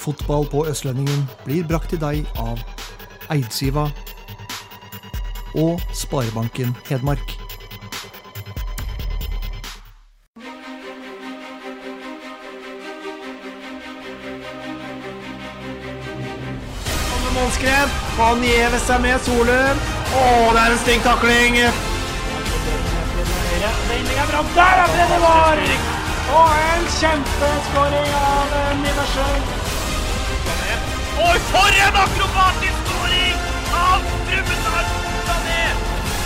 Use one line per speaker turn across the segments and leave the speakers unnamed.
Fotball på Østlendingen blir brakt til deg av Eidsiva og Sparebanken Hedmark.
Målskrev. Han gjever seg med Solum. Å, det er en stygg takling. Vendinga fram. Der er det det var! Og en kjempeskåring av eh, Nidarsjøen. Oi, for en akrobatisk skåring av Trubbestad Sané!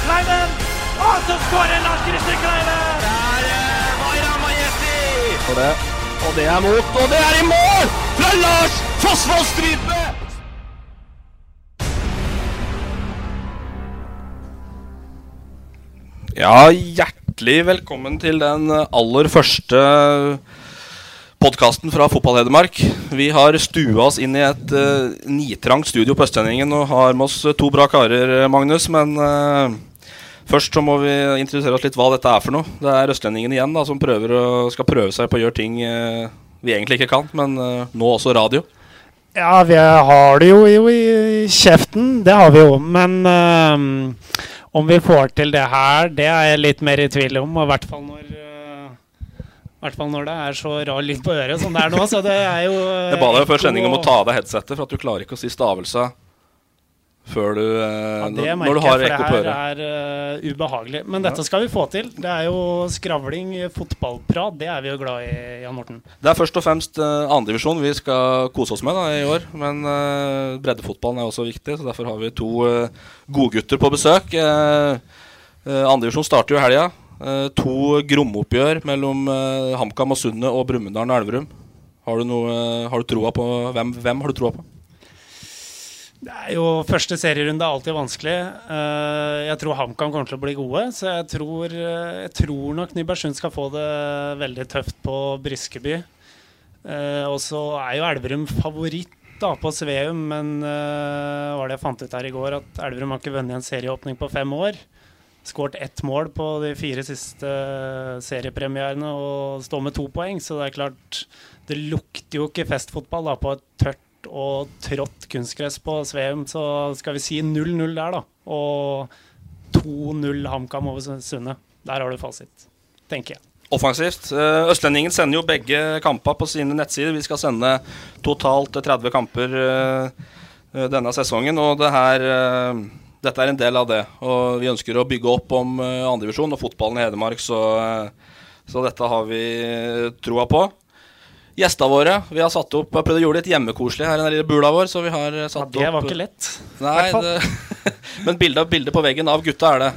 Kleiven! Og så skårer Lars Christer Kleiven! Der eh, var Ramajeti! Og det, og det er mot, og det er i mål! Fra Lars Fossvold Strype!
Ja, hjertelig velkommen til den aller første podkasten fra Fotball-Hedmark. Vi har stua oss inn i et uh, nitrangt studio på Østlendingen og har med oss eh, to bra karer, Magnus. Men eh, først så må vi introdusere oss litt hva dette er for noe. Det er Østlendingen igjen da, som prøver å, skal prøve seg på å gjøre ting eh, vi egentlig ikke kan, men eh, nå også radio.
Ja, vi har det jo, jo i kjeften, det har vi jo. Men øhm, om vi får til det her, det er jeg litt mer i tvil om. Og i hvert fall når, øh, i hvert fall når det er så rar lyd på øret som det er nå. Så det er jo eh,
Jeg ba deg jo før sending om å ta av deg headsetet, for at du klarer ikke å si stavelsa før du eh,
ja, det
når-
merker
Når du har
jeg,
ekko på
for det
øret.
her er øh, ubehagelig. Men dette skal vi få til. Det er jo skravling, fotballprat. Det er vi jo glad i, Jan Morten.
Det er først og fremst uh, andredivisjon vi skal kose oss med da, i år. Men eh, breddefotballen er også viktig, så derfor har vi to eh, godgutter på besøk. Uh, andredivisjon starter jo i helga. Eh, to gromoppgjør mellom eh, HamKam og Sundet og Brumunddal og Elverum. Har du, noe, eh, har du troa på hvem, hvem har du troa på?
Det er jo Første serierunde er alltid vanskelig. Eh, jeg tror HamKam kommer til å bli gode, så jeg tror, eh, jeg tror nok Nybergsund skal få det veldig tøft på Briskeby. Eh, og så er jo Elverum favoritt da på Sveum, men eh, var det jeg fant ut her i går, at Elverum har ikke vunnet en serieåpning på fem år. Skåret ett mål på de fire siste eh, seriepremierene og står med to poeng, så det er klart det lukter jo ikke festfotball da, på et tørt og trått kunstgress på Sveum. Så skal vi si 0-0 der, da. Og 2-0 HamKam over Sundet. Der har du fasit, tenker jeg.
Offensivt. Eh, Østlendingen sender jo begge kamper på sine nettsider. Vi skal sende totalt 30 kamper eh, eh, denne sesongen, og det her eh, dette er en del av det. Og vi ønsker å bygge opp om eh, andredivisjon og fotballen i Hedmark, så, eh, så dette har vi eh, troa på. Gjestene våre Vi har satt opp, jeg prøvde å gjøre det litt hjemmekoselig her i den lille bula vår. Så vi har eh,
Ja,
satt
det var
opp
ikke lett.
Nei,
hvert fall.
det, men bildet, bildet på veggen av gutta er det.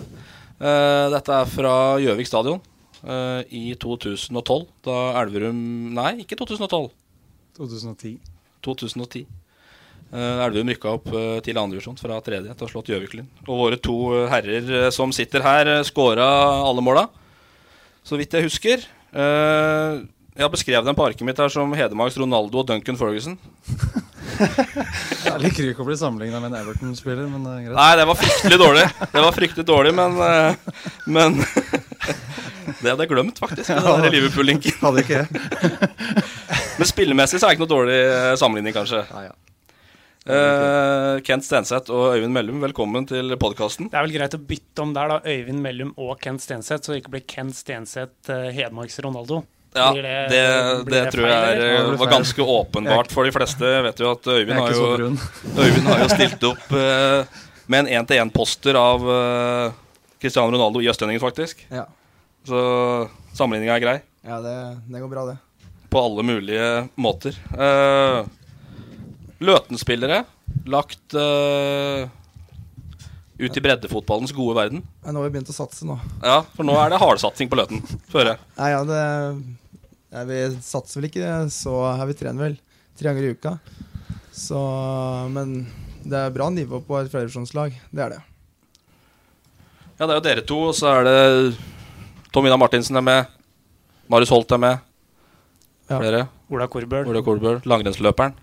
Eh, dette er fra Gjøvik stadion eh, i 2012. Da Elverum Nei, ikke 2012.
2010.
2010. Eh, Elverum rykka opp eh, til andredivisjon fra tredje til å ha slått Gjøviklyn. Og våre to eh, herrer eh, som sitter her, uh, skåra alle måla, så vidt jeg husker. Eh, jeg har beskrevet dem på arket mitt her som Hedmarks Ronaldo og Duncan Ferguson.
Jeg liker ikke å bli sammenligna med en Everton-spiller, men det er greit.
Nei, det var fryktelig dårlig. Det var fryktelig dårlig, men, eh, men Det hadde jeg glemt, faktisk. Den der Liverpool-linken.
Hadde ikke jeg.
Men spillemessig så er det ikke noe dårlig eh, sammenligning, kanskje.
Nei, ja.
Eh, Kent Stenseth og Øyvind Mellum, velkommen til podkasten.
Det er vel greit å bytte om der, da. Øyvind Mellum og Kent Stenseth, så det ikke blir Kent Stenseth eh, Hedmarks Ronaldo.
Ja,
Blir det-
det,
blir
det
det
tror
feil,
jeg er,
eller?
eh, var ganske åpenbart for de fleste. Jeg vet jo at
Jeg
Øyvind
er
har
ikke så
jo,
brun.
Øyvind har jo stilt opp eh, med en én-til-én-poster av eh, Cristiano Ronaldo i Østlendingen, faktisk.
Ja.
Så sammenligninga er grei.
Ja, det, det går bra, det.
på alle mulige måter. Eh, Løten-spillere lagt eh, ut i breddefotballens gode verden.
Ja, Nå har vi begynt å satse nå.
Ja, for nå er det hardsatsing på Løten, hører jeg.
Nei, ja, det
Nei, vi satser vel ikke så her Vi trener vel tre ganger i uka. Så, men det er bra nivå på et flerdivisjonslag. Det er det.
Ja, det er jo dere to, og så er det Tom Ina Martinsen er med. Marius Holt er med.
Ja.
Flere.
Ola Korbøl.
Ola Korbøl. Langrennsløperen.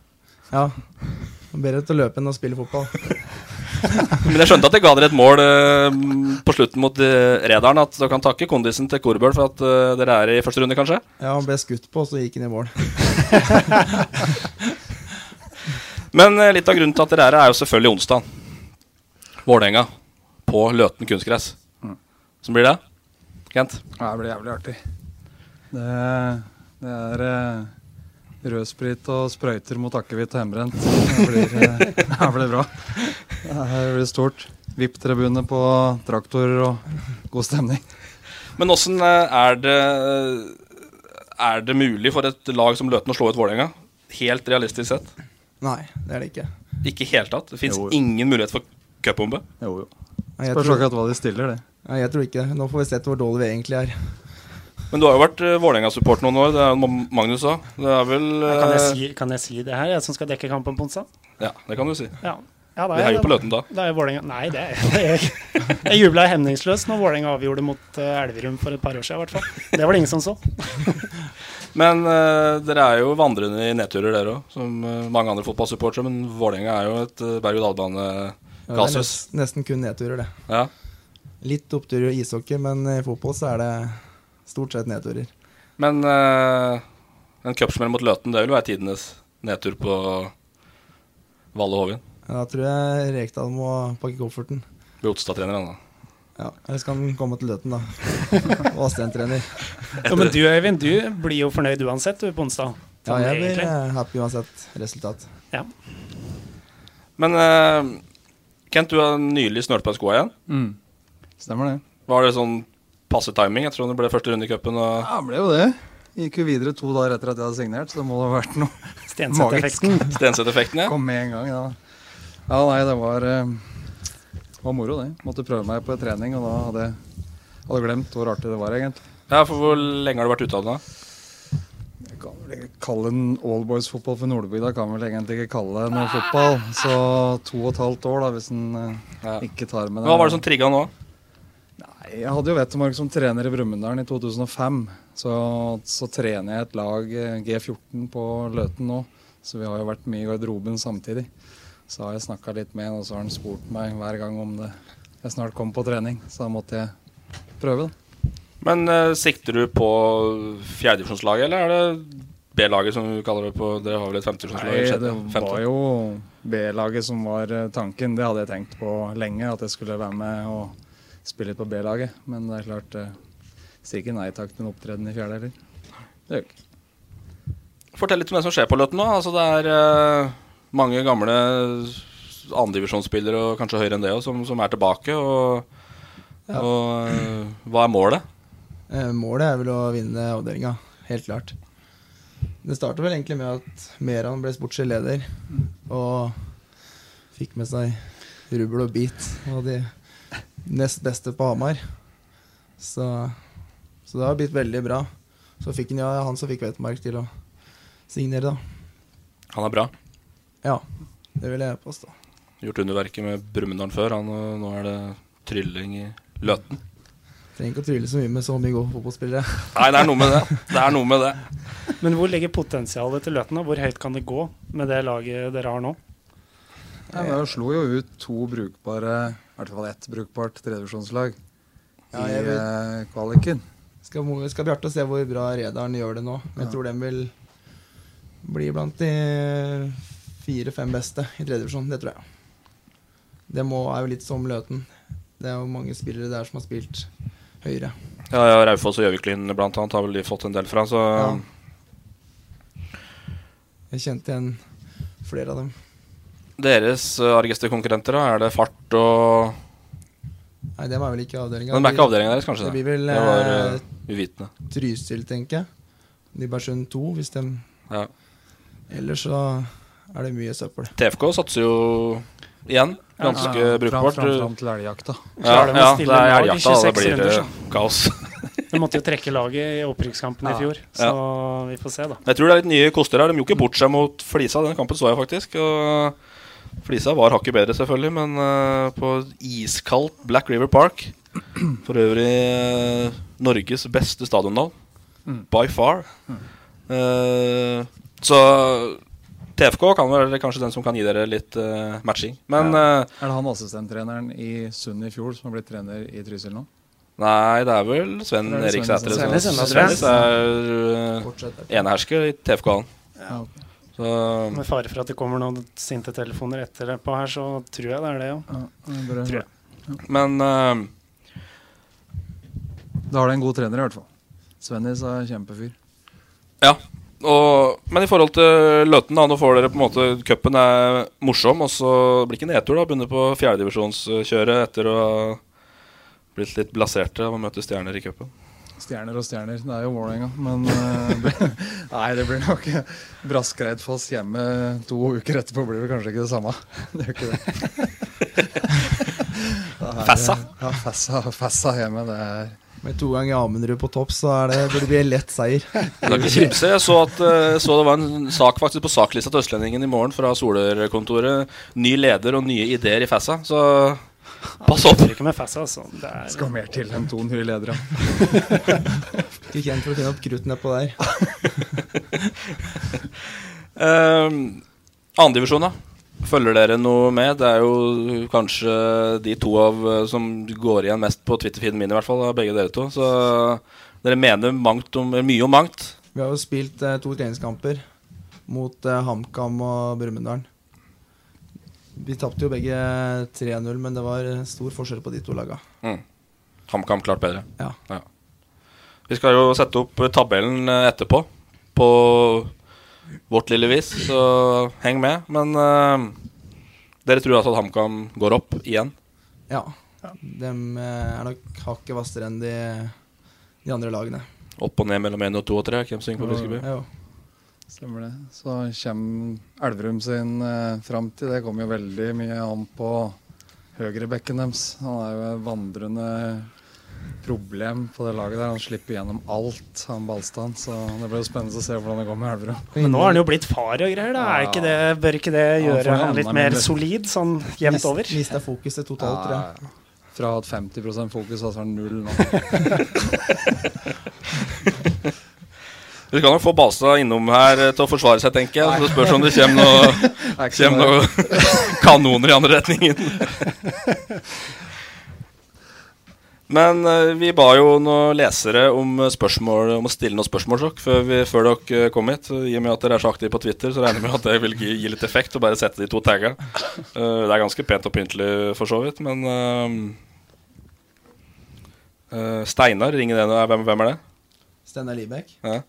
Ja. Det er Bedre til å løpe enn å spille fotball.
Men jeg skjønte at jeg ga dere et mål eh, på slutten mot eh, Redaren. At dere kan takke kondisen til Korbøl for at eh, dere er i første runde, kanskje?
Ja, han ble skutt på, og så gikk han i mål.
Men eh, litt av grunnen til at dere er her, er jo selvfølgelig onsdag. Vålerenga på Løten kunstgress.
Mm.
Så blir det? Kent?
Ja, det blir jævlig artig. Det, det er eh, rødsprit og sprøyter mot akevitt og hjemmebrent. Det blir, eh, det blir bra. Det blir stort. VIP-tribune på traktorer og god stemning.
Men åssen er det Er det mulig for et lag som Løten å slå ut Vålerenga? Helt realistisk sett?
Nei, det er det ikke.
Ikke i det hele tatt? Det fins
Jo, jo.
ingen mulighet for cupbombe?
Jo, jo.
Nei, jeg Spørs tror-
akkurat hva de stiller, det.
Nei, jeg tror ikke det. Nå får vi sett hvor dårlig vi egentlig er.
Men du har jo vært eh, Vålerenga-support noen år, det er jo Ma- Magnus òg. Det er vel
Kan jeg,
eh,
si, kan jeg si det her, jeg som skal dekke kampen på onsdag?
Ja, det kan du si.
Ja. Ja, da
Vi heier
jeg-
på Løten da.
Da er jeg Vålerenga Nei, det er det er jeg ikke. Jeg jubla hemningsløst når Vålerenga avgjorde mot eh, Elverum for et par år siden, i hvert fall. Det var det ingen som så.
Men eh, dere er jo vandrende i nedturer, dere òg, som eh, mange andre fotballsupportere. Men Vålerenga er jo et eh,
Ja, det er
berg-og-dal-bane-kasus.
nes- nesten kun nedturer, det.
Ja.
Litt oppturer i ishockey, men i fotball så er det stort sett nedturer.
Men eh, en cupsmell mot Løten, det vil være tidenes nedtur på Valle Hovin.
Da tror jeg Rekdal må pakke kofferten.
Blir Otstad-treneren, da.
Ja, Eller skal han komme til Løten, da? Og Asten-trener.
Ja, men du Øyvind, du blir jo fornøyd uansett du på onsdag.
Ja,
Sånn
jeg blir
egentlig.
eh, happy uansett resultat.
eh,
Ja.
Men eh, Kent, du har nylig snørt på skoa igjen.
Mm. Stemmer det.
Var det sånn passe timing? Jeg tror det ble første runde i cupen. og-
Ja, det ble jo det. Gikk jo videre to dager etter at jeg hadde signert, så det må da ha vært noe magisk.
Stenseth-effekten. Stenseth-effekten, ja.
Kom med en gang, ja. Ja, nei, det var, eh, var moro, det. Måtte prøve meg på trening, og da hadde jeg hadde glemt hvor artig det var, egentlig.
Ja, for Hvor lenge har du vært ute av det? da?
Kalle en allboys-fotball for Nordbygda kan vel egentlig ikke kalle det noe fotball. Så to og et halvt år, da, hvis en eh, ikke tar med det.
Hva var det som trigga nå?
Nei, Jeg hadde jo Vettemark som trener i Brumunddal i 2005. Så, så trener jeg et lag, eh, G14, på Løten nå. Så vi har jo vært mye i garderoben samtidig. Så har jeg snakka litt med han, og så har han spurt meg hver gang om det jeg snart kom på trening. Så da måtte jeg prøve, da.
Men eh, sikter du på fjerdedivisjonslaget, eller er det B-laget som vi kaller det på Dere har vel et femtedivisjonslag?
Nei,
sjette,
det
femte?
var jo B-laget som var eh, tanken. Det hadde jeg tenkt på lenge, at jeg skulle være med og spille litt på B-laget. Men det er klart, eh, sier ikke nei takk til en opptreden i fjerde heller. Det gjør jeg ikke.
Fortell litt om det som skjer på Løten nå. Altså, det er eh, mange gamle andredivisjonsspillere, og kanskje høyere enn det også, som, som er tilbake. Og, og eh, hva er målet?
Eh, Målet er vel å vinne avdelinga, helt klart. Det startet vel egentlig med at Meran ble sportslig leder og fikk med seg rubbel og bit og de nest beste på Hamar. Så, så det har blitt veldig bra. Så fikk han, ja, han som fikk Vetmark til å signere, da.
Han er bra.
Ja, det vil jeg påstå.
Gjort underverket med Brumunddal før. Han, og nå er det trylling i Løten.
Trenger ikke å tvile så mye med så mye gode fotballspillere.
Nei, det er noe med det. Det er noe med det.
Men hvor ligger potensialet til Løten? da? Hvor høyt kan det gå med det laget dere har nå?
Nei, men Jeg slo jo ut to brukbare, i hvert fall ett brukbart tredjevisjonslag
Ja,
i
jeg vet.
eh, kvaliken.
Skal, mo- skal Bjarte se hvor bra Redaren gjør det nå. Men
Ja.
jeg tror den vil bli blant de fire-fem beste i tredje divisjon. Det tror jeg. Det må, er jo litt som Løten. Det er jo mange spillere der som har spilt høyere.
Ja, ja Raufoss og Gjøviklyn blant annet har vel de fått en del fra, så
Jeg kjente igjen flere av dem.
Deres eh, argeste konkurrenter, da? Er det fart og
Nei, dem er vel ikke avdelinga.
Men det er ikke avdelingen deres, kanskje?
Det blir vel
det var
eh,
eh, uvitende.
Trysil, tenker jeg. Nybergsund 2, hvis dem
Ja.
Ellers så er det mye søppel.
TFK satser jo igjen. Ganske
Ja, ja, fram-
brukbart.
fram- fram til elgjakta.
Ja,
Klarer de å
ja, det er
stille lag i
elgjakta, da
26
blir det
runder, så.
kaos.
De måtte jo trekke laget i opprykkskampen i
Ja.
fjor, så vi får se, da.
Jeg tror det er litt nye koster her. De gjorde ikke bort seg mot Flisa. Den kampen så jeg faktisk. Og Flisa var hakket bedre, selvfølgelig, men eh, på iskaldt Black River Park For øvrig eh, Norges beste stadionnavn.
Mm.
By far. Eh, så TFK kan være kanskje den som kan gi dere litt eh, matching. Men
Ja.
eh,
Er det han assistenttreneren i Sund i fjor som har blitt trener i Trysil nå?
Nei, det er vel Sven
Eller er det
Erik
Sven-
Sætre.
Sven-
som-
Sven- Sven-
Svennis er uh, enehersker i TFK-hallen. Så
Med fare for at det kommer noen sinte telefoner etter det på her, så tror jeg det er det, jo.
bør jeg-
Tror jeg.
Men eh,
Da har du en god trener, i hvert fall. Svennis er kjempefyr.
Ja. Og, men i forhold til Løten, da, nå får dere på en måte Cupen er morsom, og så blir det ikke nedtur da, å begynne på fjerdedivisjonskjøret etter å ha blitt litt blaserte av å møte stjerner i cupen.
Stjerner og stjerner, det er jo Vålerenga. Men eh, nei, det blir nok Braskreidfoss hjemme to uker etterpå blir det kanskje ikke det samme. Det gjør ikke det. Da er det-
Fassa.
Ja, Fassa, fassa hjemme. Det er
Med to ganger Amundrud på topp, så er det, burde det bli en lett seier.
Det er ikke kimse. Jeg så, at, eh, så det var en sak faktisk på saklista til Østlendingen i morgen fra Solør-kontoret. Ny leder og nye ideer i Fassa, så pass opp.
Ikke med Fassa, altså. Det er
skal mer til enn to nye ledere.
Ikke kjent for å finne opp krutt nedpå der.
Um, Andredivisjon, da? Følger dere noe med? Det er jo kanskje de to av eh, som går igjen mest på Twitter-feeden min, i hvert fall. da, Begge dere to. Så dere mener mangt om, mye om mangt.
Vi har jo spilt eh, to treningskamper mot eh, HamKam og Brumunddal. Vi tapte jo begge 3-0, men det var eh, stor forskjell på de to laga.
Mm. HamKam klart bedre.
Ja.
Vi skal jo sette opp eh, tabellen eh, etterpå, på vårt lille vis, så heng med. Men eh, dere tror altså at HamKam går opp igjen?
Ja. De er nok hakket hvassere enn de, de andre lagene.
Opp og ned mellom 1 og 2 og 3? Hvem synger på Briskeby?
Ja, ja.
Stemmer det. Så kommer Elverum sin eh, framtid. Det kommer jo veldig mye an på høyrebekken deres. Han er jo et vandrende problem på det laget der. Han slipper gjennom alt, han Balstad. Så det blir jo spennende å se hvordan det går med Elverum.
Men nå er han jo blitt far og greier, da. Er ikke det, bør ikke det
Ja, for
gjøre han
han er
litt mer
litt-
solid, sånn jevnt over?
Mista fokuset
totalt, tror jeg. Fra å ha hatt 50 fokus, altså er han null nå.
Vi skal nok få Balstad innom her eh, til å forsvare seg, tenker jeg. Så det spørs om det kommer
Det
noe,
er ikke så
kommer noe kanoner i andre retningen. Men eh, vi ba jo noen lesere om, eh, spørsmål, om å stille noen spørsmål dere, før, vi, før dere eh, kom hit. I og med at dere er så aktive på Twitter, så regner jeg med at det vil gi, gi litt effekt å bare sette de to tagga. Eh, det er ganske pent og pyntelig for så vidt, men eh, eh, Steinar, ringer det nå? Hvem, hvem er det?
Steinar Libekk.
Ja.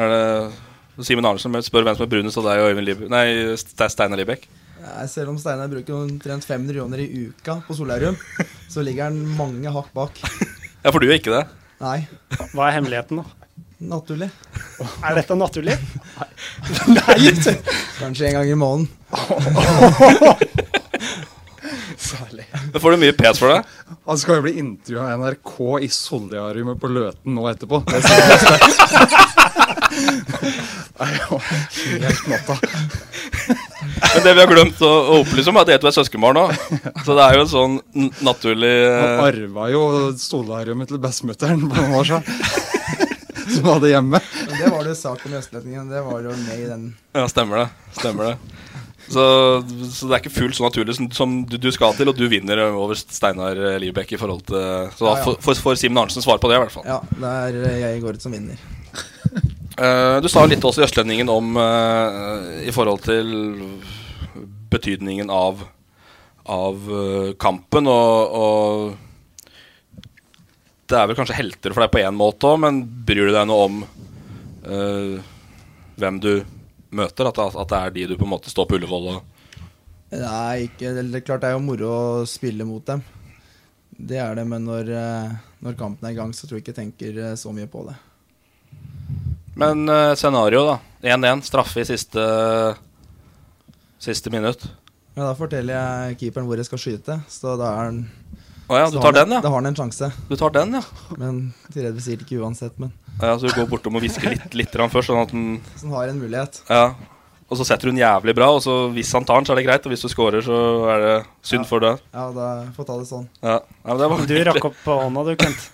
Er det Simen Arnesen spør hvem som er brunest av deg og Øyvind Libe... Nei, Ste- Steinar Libekk.
Nei, Eh, Selv om Steinar bruker omtrent 500 millioner i uka på solarium, så ligger han mange hakk bak.
Ja, for du er ikke det?
Nei.
Hva er hemmeligheten, da?
Naturlig.
Er dette naturlig?
Kanskje en gang i måneden.
Særlig.
Men får du mye pes for det?
Han skal jo bli intervjua av NRK i Soldariumet på Løten nå etterpå. Det sier jeg sterkt. Det er jo helt natta.
Men det vi har glemt å, å opplyse om, er at dere to er søskenbarn nå. Så det er jo en sånn n- naturlig
Han
eh,
arva jo Soldariumet til bestemutteren på noen år siden, som han hadde hjemme.
Men det var det jo sak om i Østlendingen. Det var jo med i den.
Ja, stemmer det. Stemmer det. Så, så det er ikke fullt så naturlig som, som du, du skal til, og du vinner over Steinar Libekk i forhold til Så da
Ja, ja.
får- får får Simen Arnesen svar på det, i hvert fall.
Ja, det er jeg går ut som vinner.
Eh, du sa litt også i Østlendingen om eh, i forhold til betydningen av, av eh, kampen og, og Det er vel kanskje helter for deg på én måte òg, men bryr du deg noe om eh, hvem du møter? At, at det er de du på en måte står på Ullevål og
Nei, ikke eller Det er klart det er jo moro å spille mot dem. Det er det, men når, eh, når kampen er i gang, så tror jeg ikke jeg tenker eh, så mye på det.
Men uh, scenario, da. 1-1, straffe i siste, siste minutt.
Ja, Da forteller jeg keeperen hvor jeg skal skyte, så da er han
Å ja, du
Så
tar
har
den, ja.
Da har han en sjanse.
Du tar den, ja.
Men til Red Bull sier det ikke uansett, men
Ja, så du går bortom og hvisker litt, litt grann først, sånn at den
Så han har en mulighet.
Ja. Og så setter hun jævlig bra, og så hvis han tar den, så er det greit. Og hvis du scorer, så er det synd for deg.
Ja, da får jeg ta det sånn.
Ja. Ja, men det var
Du rakk opp på hånda, du, Kent.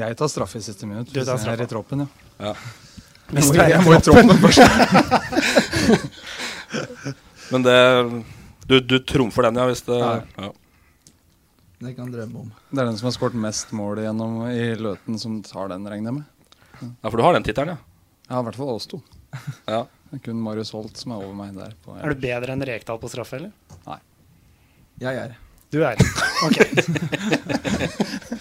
Jeg tar straffe i siste minutt.
Du
Hvis
tar
jeg er i troppen, ja.
Ja.
Jeg
Hvis
må,
du er i
jeg må i
troppen.
troppen først.
Men det Du, du trumfer den, ja, hvis det
Ja.
ja.
Det kan jeg drømme om.
det er den som har skåret mest mål gjennom i løten, som tar den, regner jeg med.
Ja, for du har den tittelen, ja?
Ja, i hvert fall oss to.
Ja.
Det er kun Marius Holt som er over meg der. På
Er du bedre enn Rekdal på straffe, eller?
Nei.
Jeg er.
Du er. Ok.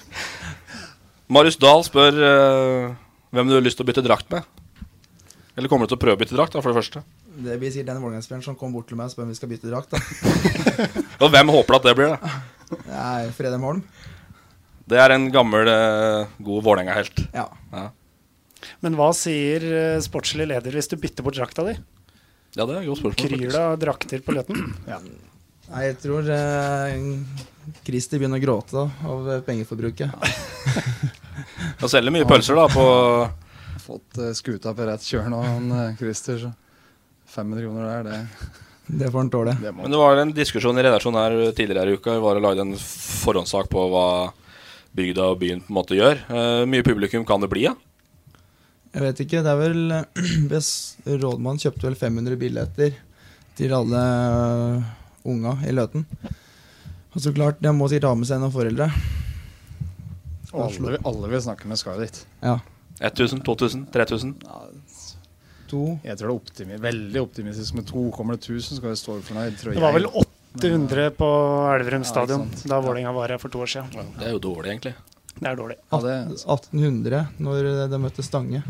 Marius Dahl spør eh, hvem du har lyst til å bytte drakt med. Eller kommer du til å prøve å bytte drakt, da, for det første?
Det blir sikkert den Vålerenga-spilleren som kom bort til meg og spør om vi skal bytte drakt. da.
Og hvem håper du at det blir, da?
Nei, Fredheim Holm.
Det er en gammel, eh, god Vålerenga-helt.
Ja.
ja.
Men hva sier eh, sportslig leder hvis du bytter bort drakta di?
Ja, det er et godt spørsmål.
Kryr det av drakter på Løten?
Nei, jeg tror eh, Christer begynner å gråte da, av eh, pengeforbruket.
Han selger mye pølser, da, på
Jeg har fått eh, skuta på rett kjør nå, han eh, Christer. Så 500 kroner der, det
Det får han tåle.
Det må-
Men det var en diskusjon i redaksjonen her tidligere i uka. Vi var og lagde en forhåndssak på hva bygda og byen på en måte gjør. Eh, mye publikum kan det bli, ja.
Jeg vet ikke, det er vel hvis Rådmann kjøpte vel 500 billetter til alle øh, unga i Løten. Og så klart, de må sikkert ha med seg noen foreldre.
Alle, alle vil snakke med skal dit.
Ja.
1000, 2000, 3000.
To.
Jeg tror det er optimi veldig optimistisk med to. Kommer det 1000, skal vi stå fornøyd. Tror
Det var vel
jeg.
800 på Elverum
Ja,
stadion
ikke sant.
da Vålerenga var her for to år siden.
Det er jo dårlig, egentlig.
Det er dårlig.
Ja, det,
1800 når eh, de møtte Stange.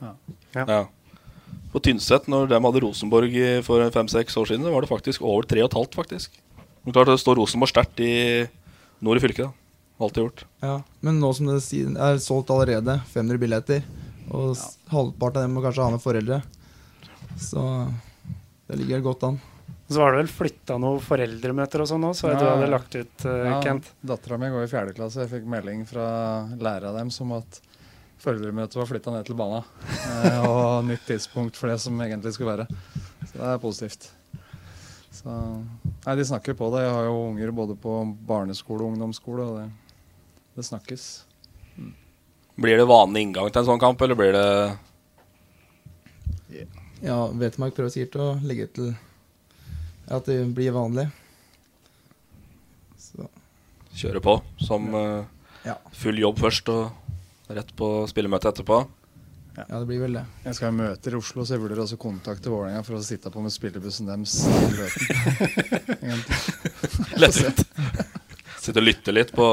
Ja. På Tynset, når de hadde Rosenborg i- for fem-seks år siden, så var det faktisk over 3,5, faktisk. Men klart det står Rosenborg sterkt i nord i fylket. da. Alltid gjort.
Ja. Men nå som det si- er solgt allerede 500 billetter, og s- halvparten av dem må kanskje ha med foreldre, så det ligger godt an.
Så var det vel flytta noen foreldremøter og sånn nå, så
Ja,
du
ja.
hadde lagt ut, eh,
Ja,
Kent.
Dattera mi går i fjerde klasse. Jeg fikk melding fra læreren deres om at foreldremøtet var flytta ned til bana. Eh, og nytt tidspunkt for det som egentlig skulle være. Så det er positivt. Så, nei, de snakker på det. Jeg har jo unger både på barneskole og ungdomsskole, og det, det snakkes.
Blir det vanlig inngang til en sånn kamp, eller blir det
Ja, Vetemark prøver sikkert å legge til at det blir vanlig. Så
kjøre på som eh,
Ja.
full jobb først og rett på spillemøte etterpå?
ja, det blir vel det.
Jeg skal ha møter i Oslo, så jeg vurderer også å kontakte Vålerenga for å sitte på med spillebussen deres. til Løten. Egentlig.
Lett ut. Sitte og lytte litt på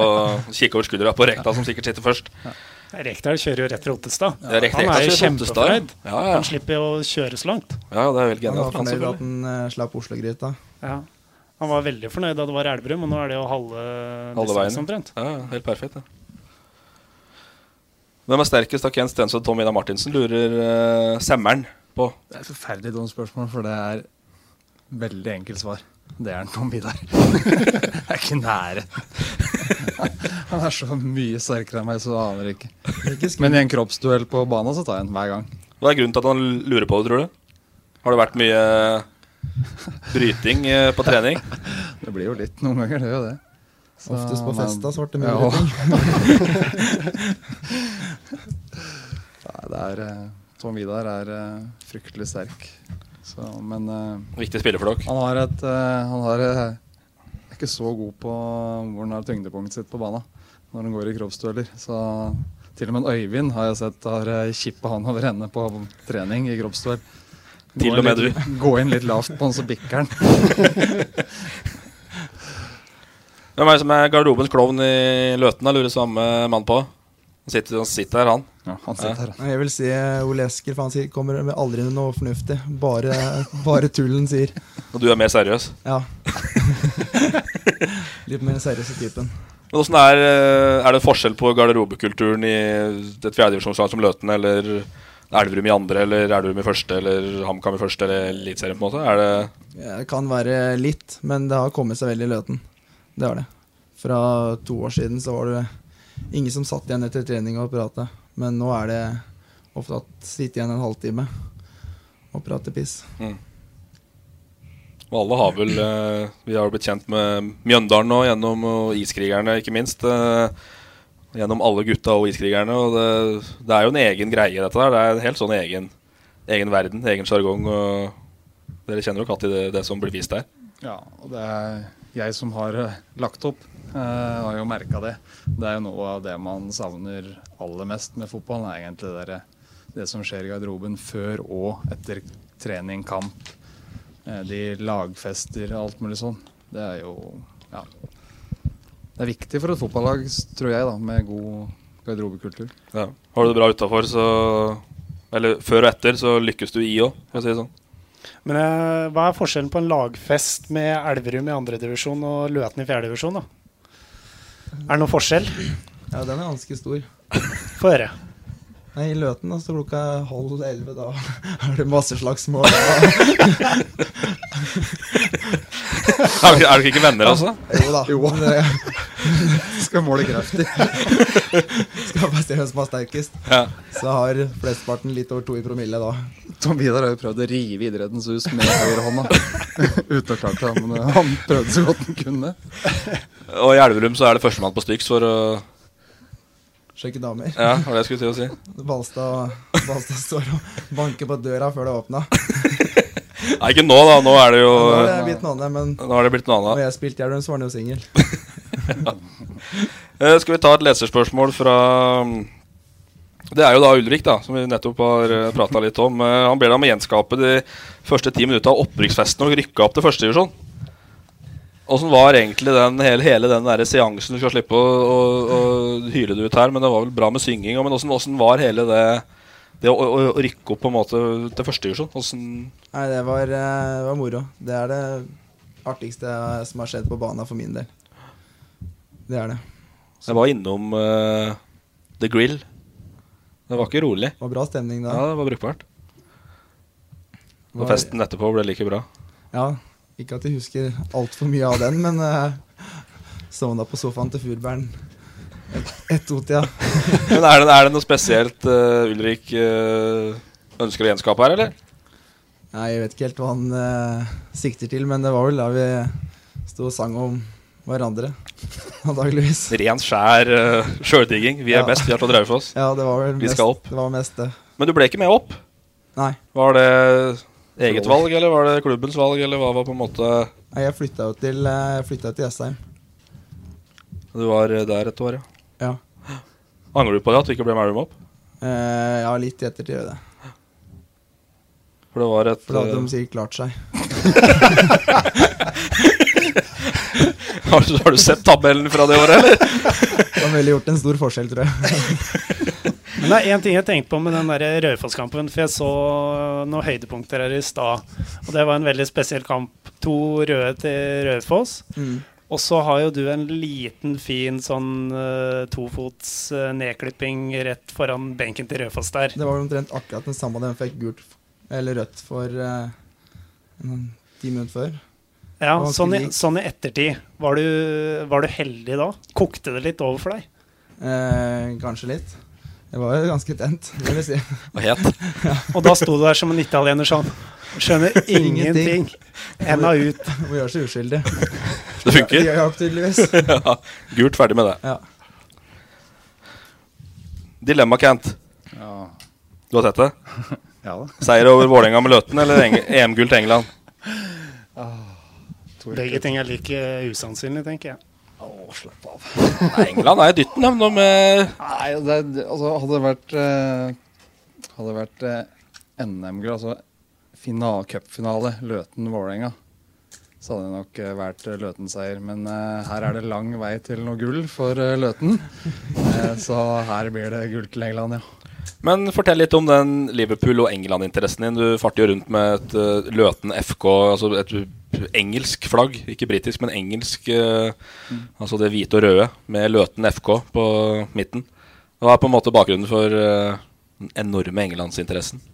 Kikke over skuldra på Rekdal, som sikkert sitter først.
Rekdal kjører jo rett til Ottestad.
Ja, Rekdal
Han er jo
kjører til Ottestad, ja.
kjempefornøyd.
Ja, ja.
Han slipper jo å kjøre så langt.
Ja, det
Han
er veldig
var
genialt. for han,
fornøyd med at
selvfølgelig.
han eh, slapp Oslo-gryta.
Ja. Han var veldig fornøyd da det var Elverum, og nå er det jo halve
Alle
distansen
veiene.
omtrent.
Ja, ja, helt perfekt. det. Hvem er sterkest av Ken Stensson og Tom Ida Martinsen, lurer eh, semmeren på.
Det er et forferdelig dumt spørsmål, for det er veldig enkelt svar. Det er Tom Vidar. Jeg er ikke nære. Han er så mye sterkere enn meg, så du aner ikke. Men i en kroppsduell på banen så tar jeg den hver gang.
Hva er grunnen til at han lurer på det, tror du? Har det vært mye bryting eh, på trening?
Det blir jo litt noen ganger, det er jo det. Så
Oftest på
han er-
fest, da, svarte
Ja. Nei, det er eh, Tom Vidar er eh, fryktelig sterk. Så, men eh,
Viktig spiller for dere.
Han har et eh, Han har, eh, er ikke så god på hvor han har tyngdepunktet sitt på banen når han går i kroppsdueller. Så til og med en Øyvind har jeg sett har eh, kippet han over ende på trening i kroppsduell. Gå
Til og
inn
med
litt-
du.
Gå inn litt lavt på han, så bikker han.
Hvem er det som er garderobens klovn i Løten, da, lurer samme mann på? Han sitter, han sitter her, han.
Ja, han sitter her.
Jeg vil si eh, Ole Esker, for han sier, kommer med aldri med noe fornuftig. Bare, bare tullen, sier.
Og du er mer seriøs?
Ja. Litt mer seriøse typen.
Men hvordan er, eh, er det forskjell på garderobekulturen i et fjerdedivisjonslag som Løten, eller Elverum i andre, eller Elverum i første, eller HamKam i første, eller Eliteserien, på en måte? Er det
Ja, Det kan være litt, men det har kommet seg veldig i løten. Det har det. Fra to år siden så var det ingen som satt igjen etter trening og prate. Men nå er det ofte at sitte igjen en halvtime og prate piss.
Mm. Og alle har vel eh, Vi har jo blitt kjent med Mjøndalen nå gjennom og Iskrigerne, ikke minst. eh, gjennom alle gutta og Iskrigerne. Og det, det er jo en egen greie, dette der. Det er en helt sånn egen, egen verden, egen sjargong. og Dere kjenner jo katt i det, det som blir vist der.
Ja, og det er jeg som har eh, lagt opp. eh, har jo merka det. Det er jo noe av det man savner aller mest med fotball. er egentlig det, der- det som skjer i garderoben før og etter trening, kamp. Eh, de lagfester og alt mulig sånn. Det er jo ja. Det er viktig for et fotballag, s- tror jeg, da, med god garderobekultur.
Ja. Har du det bra utafor, så Eller før og etter, så lykkes du i òg, for å si det sånn.
Men eh, hva er forskjellen på en lagfest med Elverum i andredivisjon og Løten i fjerdedivisjon, da? Er det noen forskjell?
Ja, den er ganske stor.
Få høre.
Nei, I Løten altså klokka halv elleve, da er det masse slagsmål. er
dere- er dere ikke venner, altså?
Jo da.
Jo.
men eh, det-
Skal måle krefter.
Skal bare se hvem som er sterkest.
Ja.
Så har flesteparten litt over to i promille da.
Tom Vidar har jo prøvd å rive idrettens hus med høyrehånda. Uten å klare det, men eh, han prøvde så godt han kunne.
Og i Elverum så er det førstemann på Styx for å
Sjekke damer.
Ja, det var det jeg skulle til å si.
Balstad, Balstad står og banker på døra før det åpna.
Nei, ikke nå, da. Nå er det jo
Nå er det blitt noe annet, men
Nå har det blitt noe annet.
Når jeg spilte i Elverum, så var han jo singel.
Eh, Skal vi ta et leserspørsmål fra mm, Det er jo da Ulrik, da, som vi nettopp har prata litt om. Eh, Han ber deg om å gjenskape de første ti minutta av opprykksfesten og rykke opp til førstedivisjon. Åssen var egentlig den, hele, hele den der seansen? Du skal slippe å, å, å hyle det ut her, men det var vel bra med synging. og- Men åssen var hele det det å, å, å rykke opp på en måte til førstedivisjon? Åssen
Nei, det var, eh, det var moro. Det er det artigste som har skjedd på banen for min del. Det er det.
Jeg var innom eh, The Grill. Det var ikke rolig.
Det var bra stemning da.
Ja, det var brukbart. Og
Var-
festen etterpå ble like bra.
Ja, ikke at jeg husker altfor mye av den, men uh, sovna på sofaen til Furbæren ett-to-tida.
Men er det, er det noe spesielt eh, Ulrik eh, ønsker å gjenskape her, eller?
Nei, jeg vet ikke helt hva han eh, sikter til, men det var vel da vi sto og sang om hverandre, antageligvis.
Ren, skjær uh, sjøldigging. Vi er
Ja.
best, vi er til å dreie for oss.
Ja, det var vel
Vi
mest,
skal opp.
Det var mest det.
Men du ble ikke med opp?
Nei.
Var det eget valg, eller var det klubbens valg, eller hva var på en måte
Nei, Jeg flytta jo til, eh, jeg flytta jo til Jessheim.
Du var eh, der et år, ja.
Ja.
Angrer du på det, at du ikke ble med opp?
Eh, ja, litt i ettertid, gjør jeg det.
For det var et
For da hadde
eh,
de sikkert klart seg.
har, du, har du sett tabellen fra det året, eller?
Det ville gjort en stor forskjell, tror jeg.
Men det er én ting jeg tenkte på med den der Raufoss-kampen. For jeg så noen høydepunkter her i stad. Og det var en veldig spesiell kamp. To røde til Raufoss.
Mm.
Og så har jo du en liten, fin sånn eh, tofots eh, nedklipping rett foran benken til Raufoss der.
Det var vel omtrent akkurat den samme den fikk gult f- eller rødt for eh, en- ti minutter før.
Ja,
Det var
sånn i,
ganske lik.
sånn i ettertid. Var du, var du heldig da? Kokte det litt over for deg?
Eh, kanskje litt. Jeg var jo ganske tent, vil jeg si.
Og het.
Ja.
Og da sto du der som en italiener sånn. Skjønner ingenting. Henda ut.
Må gjøre seg uskyldig.
Det funker.
Det hjalp tydeligvis.
ja. Gult, ferdig med det. Dilemma, Kent.
Ja.
Du har sett det?
Ja da.
Seier over Vålerenga med Løten eller Eng- EM-gull til England?
Begge ting er like eh, usannsynlig, tenker jeg.
Å, slapp av.
Nei, England er i dytten, dem, nå med
Nei, det, er- altså, hadde det vært, eh, hadde det vært eh, NM-gull, altså final- cupfinale, Løten-Vålerenga, så hadde det nok eh, vært eh, Løten-seier. Men eh, her er det lang vei til noe gull for eh, Løten, Eh, så her blir det gull til England, ja.
Men fortell litt om den Liverpool- og England-interessen din. Du farter jo rundt med et eh, Løten FK, altså et eh, engelsk flagg. Ikke britisk, men engelsk. eh, Altså det hvite og røde med Løten FK på midten. Hva er på en måte bakgrunnen for eh, den enorme englandsinteressen?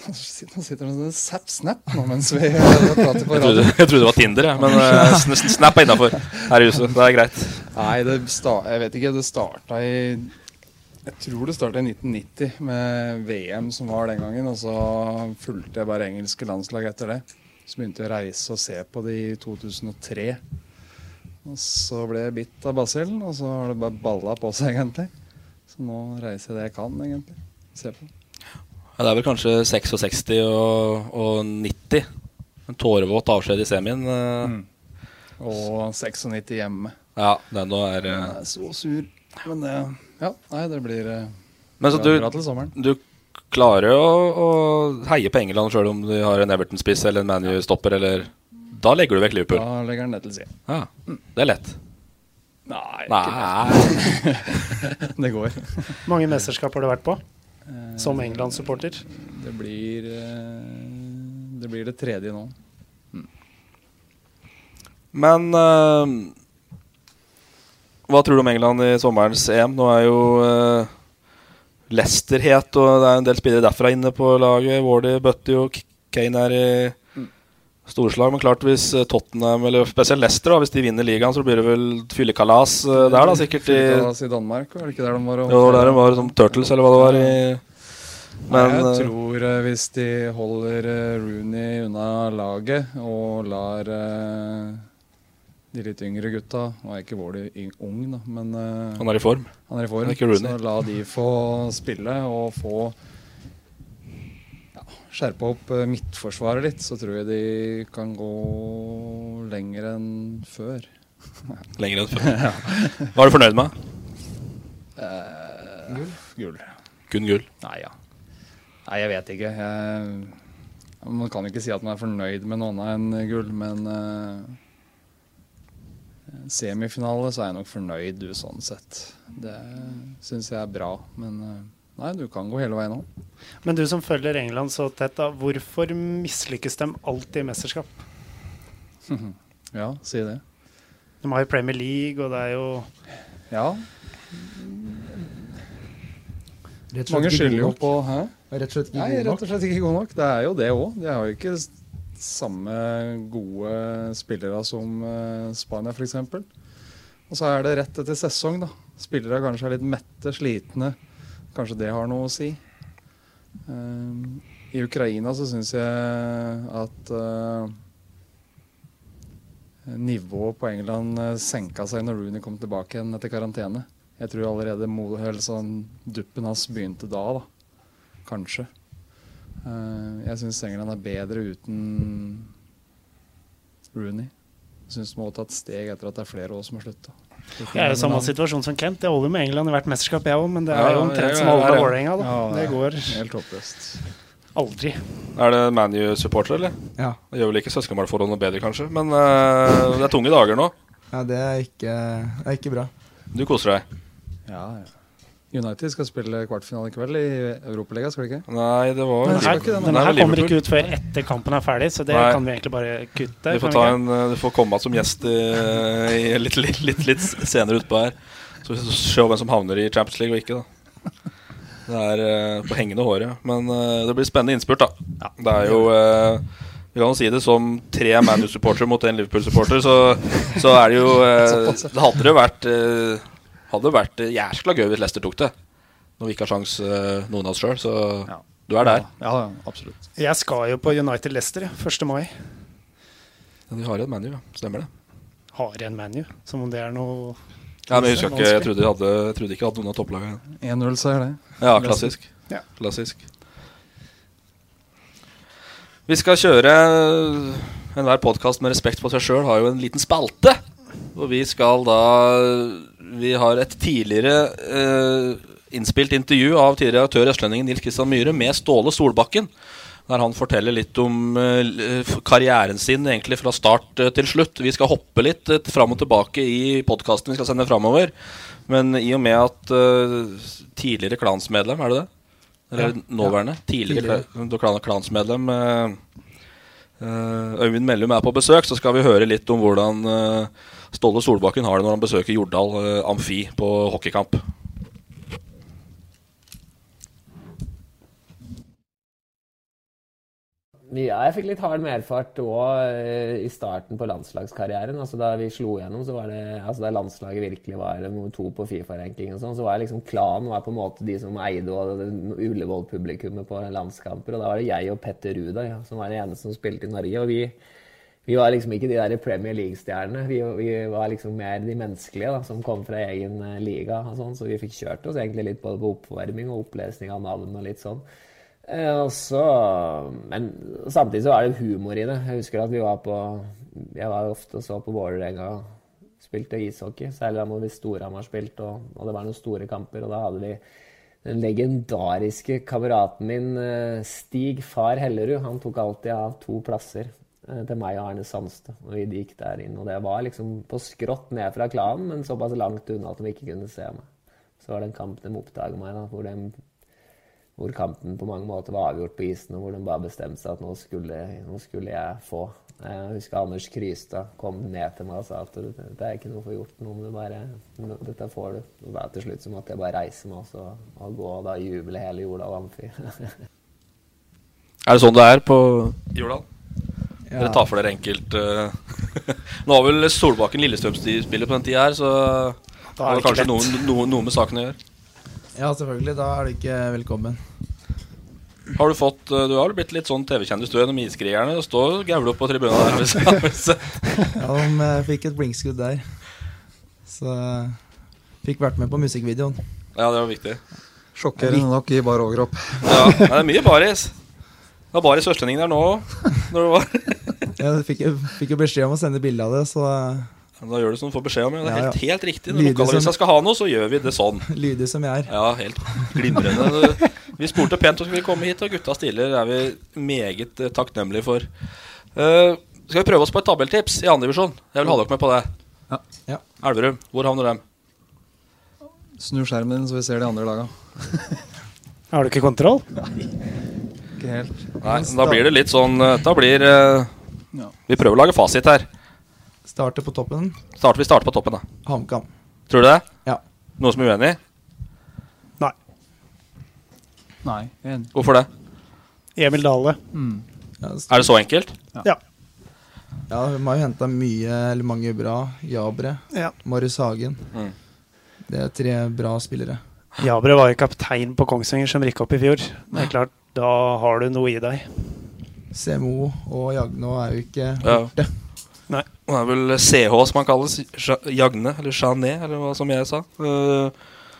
Nå sitter nå sitter det en sånn sap-snap nå mens vi eh, prater på
Jeg trodde,
radio.
jeg trodde det var Tinder, jeg, men eh, sn- sn- Snap er innafor her i huset. Det er greit.
Nei, det sta- jeg vet ikke. Det starta i Jeg tror det starta i 1990 med VM som var den gangen. Og så fulgte jeg bare engelske landslag etter det. Så begynte jeg å reise og se på det i 2003. Og så ble jeg bitt av basillen, og så har det bare balla på seg, egentlig. Så nå reiser jeg det jeg kan, egentlig. Se på.
Ja, det er vel kanskje 66 og, og 90. En tårevåt avskjed i semien. eh.
Og 96 hjemme.
Ja, det nå er eh,
Jeg er så sur. Men det, ja, nei, det blir eh,
Men så
bra- bra til sommeren.
du, du klarer å, å heie på England sjøl om du har en Everton-spiss eller en ManU-stopper, eller Da legger du vekk Liverpool.
Da legger han det til side.
Ja. Det er lett.
Nei,
Nei.
det går.
mange mesterskap har du vært på som England-supporter?
Det blir eh, Det blir det tredje nå.
Men eh, hva tror du om England i sommerens EM? Nå er jo eh, Leicester het, og det er en del spillere derfra inne på laget. Wardy, Butty og K- Kane er i
Mm.
storslag. Men klart hvis eh, Tottenham, eller spesielt Leicester, da, hvis de vinner ligaen, så blir det vel fyllekalas eh, der, da sikkert. i
Fylkesdalas i Danmark, var det ikke der de var? og-
Jo, der de var som Turtles, eller hva det var. I, men
Nei, jeg
eh,
tror eh, hvis de holder eh, Rooney unna laget og lar eh, de litt yngre gutta Nå er ikke Våler yng- ung, da, men eh,
Han er i form.
Han er i
Han
form
er ikke Rooney.
så la de få spille og få ja, skjerpa opp eh, midtforsvaret litt, så tror jeg de kan gå lenger enn før.
lenger enn før. Hva er du fornøyd med?
Eh, gull.
Kun gull.
Nei, ja. Nei, jeg vet ikke. Jeg, man kan ikke si at man er fornøyd med noe annet enn gull, men eh, semifinale så er jeg nok fornøyd du, sånn sett. Det syns jeg er bra, men eh, nei, du kan gå hele veien òg.
Men du som følger England så tett, da, hvorfor mislykkes de alltid i mesterskap?
ja, si det.
De har jo Premier League, og det er jo
Ja.
Rett og slett
Mange
ikke
skylder jo
god nok.
på Hæ?
Rett og slett ikke
Nei,
god
rett
nok.
og slett ikke god nok. Det er jo det òg. De har jo ikke s- samme gode spillere som eh, Spania, f.eks. Og så er det rett etter sesong, da. Spillere kanskje er litt mette, slitne. Kanskje det har noe å si. Ehm, I Ukraina så syns jeg at eh, nivået på England eh, senka seg når Rooney kom tilbake igjen etter karantene. Jeg tror allerede mo- eller sånn, duppen hans begynte da, da. Kanskje. Eh, jeg syns England er bedre uten Rooney. Jeg syns de må ta et steg etter at det er flere år som har slutta.
Jeg er jo samme situasjon som Kent. Jeg holder med England i hvert mesterskap, jeg òg, men det
Ja,
er jo
ja,
omtrent
ja,
som
ja,
alle
ja, ja.
Vålerenga, da.
Ja,
Det
ja.
går
Helt håpløst.
aldri.
Er det ManU-supporter, eller?
Ja.
Det gjør vel ikke søskenbarnforholdet noe bedre, kanskje, men eh, det er tunge dager nå.
Ja, det er ikke, det er ikke bra.
Du koser deg.
Ja, ja. United skal spille kvartfinale i kveld i Europaligaen, skal de ikke?
Nei, det var
Nei, den her kommer ikke ut før etter kampen er ferdig, så det
Nei.
kan vi egentlig bare kutte.
Du
kan
får,
vi
ta
ikke?
en, eh, du får komme igjen som gjest eh, i litt, litt, litt, litt senere utpå her. Så vi skal se hvem som havner i Champions League og ikke, da. Det er eh, på hengende håret. Men eh, det blir spennende innspurt, da. Det er jo eh, Vi kan jo si det som tre ManU-supportere mot en Liverpool-supporter, så, så er det jo eh,
Såpass, ja.
Det hadde jo vært eh, Hadde jo vært eh, jæskla gøy hvis Leicester tok det. Når vi ikke har sjans eh, noen av oss sjøl, så du er der.
Ja, ja, absolutt.
Jeg skal jo på United Leicester ja, 1. mai.
Ja, de har jo et ManU, ja. Stemmer det.
Har en ManU, som om det er noe
Ja, men jeg, husker ikke, jeg, trodde de hadde, jeg trodde ikke de hadde noen av topplagene.
1-0-seier, det.
Ja, klassisk.
Ja.
klassisk. Vi skal kjøre eh, Enhver podkast med respekt for seg sjøl har jo en liten spalte. Og vi skal da Vi har et tidligere eh, innspilt intervju av tidligere aktør Østlendingen Nils Kristian Myhre med Ståle Solbakken. Der han forteller litt om eh, l- f- karrieren sin egentlig fra start eh, til slutt. Vi skal hoppe litt eh, fram og tilbake i podkasten vi skal sende framover. Men i og med at eh, tidligere klansmedlem, er det det? Eller
Ja.
nåværende?
Ja.
Tidligere,
Tidligere.
kla- klan- klansmedlem eh, eh, Øyvind Mellum er på besøk, så skal vi høre litt om hvordan eh, Ståle Solbakken har det når han besøker Jordal eh, Amfi på hockeykamp.
Ja, jeg fikk litt hard medfart òg i starten på landslagskarrieren. Altså, da vi slo gjennom, så var det, altså, da landslaget virkelig var nummer to på Fifa-ranking, og sånn, så var jeg liksom klanen var på en måte de som eide og Ullevål-publikummet på landskamper. Og da var det jeg og Petter Ruda ja, som var de eneste som spilte i Norge. og vi... Vi var liksom ikke de der Premier League-stjernene. Vi, vi var liksom mer de menneskelige da, som kom fra egen eh, liga. og sånn, Så vi fikk kjørt oss egentlig litt både på oppvarming og opplesning av navn og litt sånn. Eh, og så, men samtidig så er det humor i det. Jeg husker at vi var på Jeg var ofte og så på Vålerenga spilte ishockey, særlig da hvor vi Storhamar spilte, og, og det var noen store kamper. Og da hadde vi den legendariske kameraten min eh, Stig Far Hellerud. Han tok alltid av to plasser eh, til meg og Erne Sandstø. Og vi gikk der inn. Og det var liksom på skrått ned fra klanen, men såpass langt unna at de ikke kunne se meg. Så var det en kamp de oppdaget meg, da, hvor, de, hvor kampen på mange måter var avgjort på isen, og hvor de bare bestemte seg at nå skulle, nå skulle jeg få. Jeg husker Anders Krystad kom ned til meg og sa at du, det er ikke noe for gjort, nå må du bare Dette får du. Og da til slutt så måtte jeg bare reise meg også, og gå og da juble hele Jordal Amfi.
Er det sånn det er på Jordal?
Ja.
Dere tar for dere enkelt eh, Nå var vel Solbakken Lillestrøm-spiller på den tida her, så det
Da er
har
det ikke
kanskje
lett.
noe, noe, noe med saken å gjøre.
Ja, selvfølgelig. Da er du ikke velkommen.
Har du fått eh, Du har vel blitt litt sånn TV-kjendis, du, gjennom Iskrigerne. Det står Gaule på tribunen der. Hvis, hvis,
Ja, de eh, fikk et blinkskudd der. Så eh, fikk vært med på musikkvideoen.
ja, det var viktig.
Sjokkerende nok i bar overkropp.
Ja, nei, det er mye baris. Det var baris østlending der nå òg.
Jeg fikk, jo- fikk jo beskjed om å sende bilde av det, så eh,
Da gjør du som du får beskjed om. Ja. Det er
Ja, ja.
helt, helt riktig. Når
Lydig
lokalavisa
som-
skal ha noe, så gjør vi det sånn.
lydig som jeg er.
Ja, helt glimrende. Vi spurte pent om vi skulle komme hit, og gutta stiller er vi meget eh, takknemlige for. Eh, skal vi prøve oss på et tabelltips i andredivisjon? Jeg vil ha dere med på det.
Ja.
Elverum, hvor havner dem?
Snu skjermen din, så vi ser de andre laga.
Har du ikke kontroll?
Ikke helt.
Nei, men da blir det litt sånn eh, Da blir eh, Vi prøver å lage fasit her.
Starter på toppen.
Starter, vi starter på toppen, da.
HamKam.
Tror du det?
Ja.
Noen som er uenig?
Nei. En.
Hvorfor det?
Emil Dale.
Er det så enkelt?
Ja.
Ja, de har jo henta mye, eller mange bra. Jabre.
Ja.
Marius Hagen.
Mm.
Det er tre bra spillere.
Jabre var jo kaptein på Kongsvinger som rykka opp i fjor. Det er klart, da har du noe i deg.
CMO og Jagno er jo ikke
Ja.
borte.
Nei.
Det er vel CH som han kalles. Ja- Jagne, eller Janet, eller hva som jeg sa. Uh,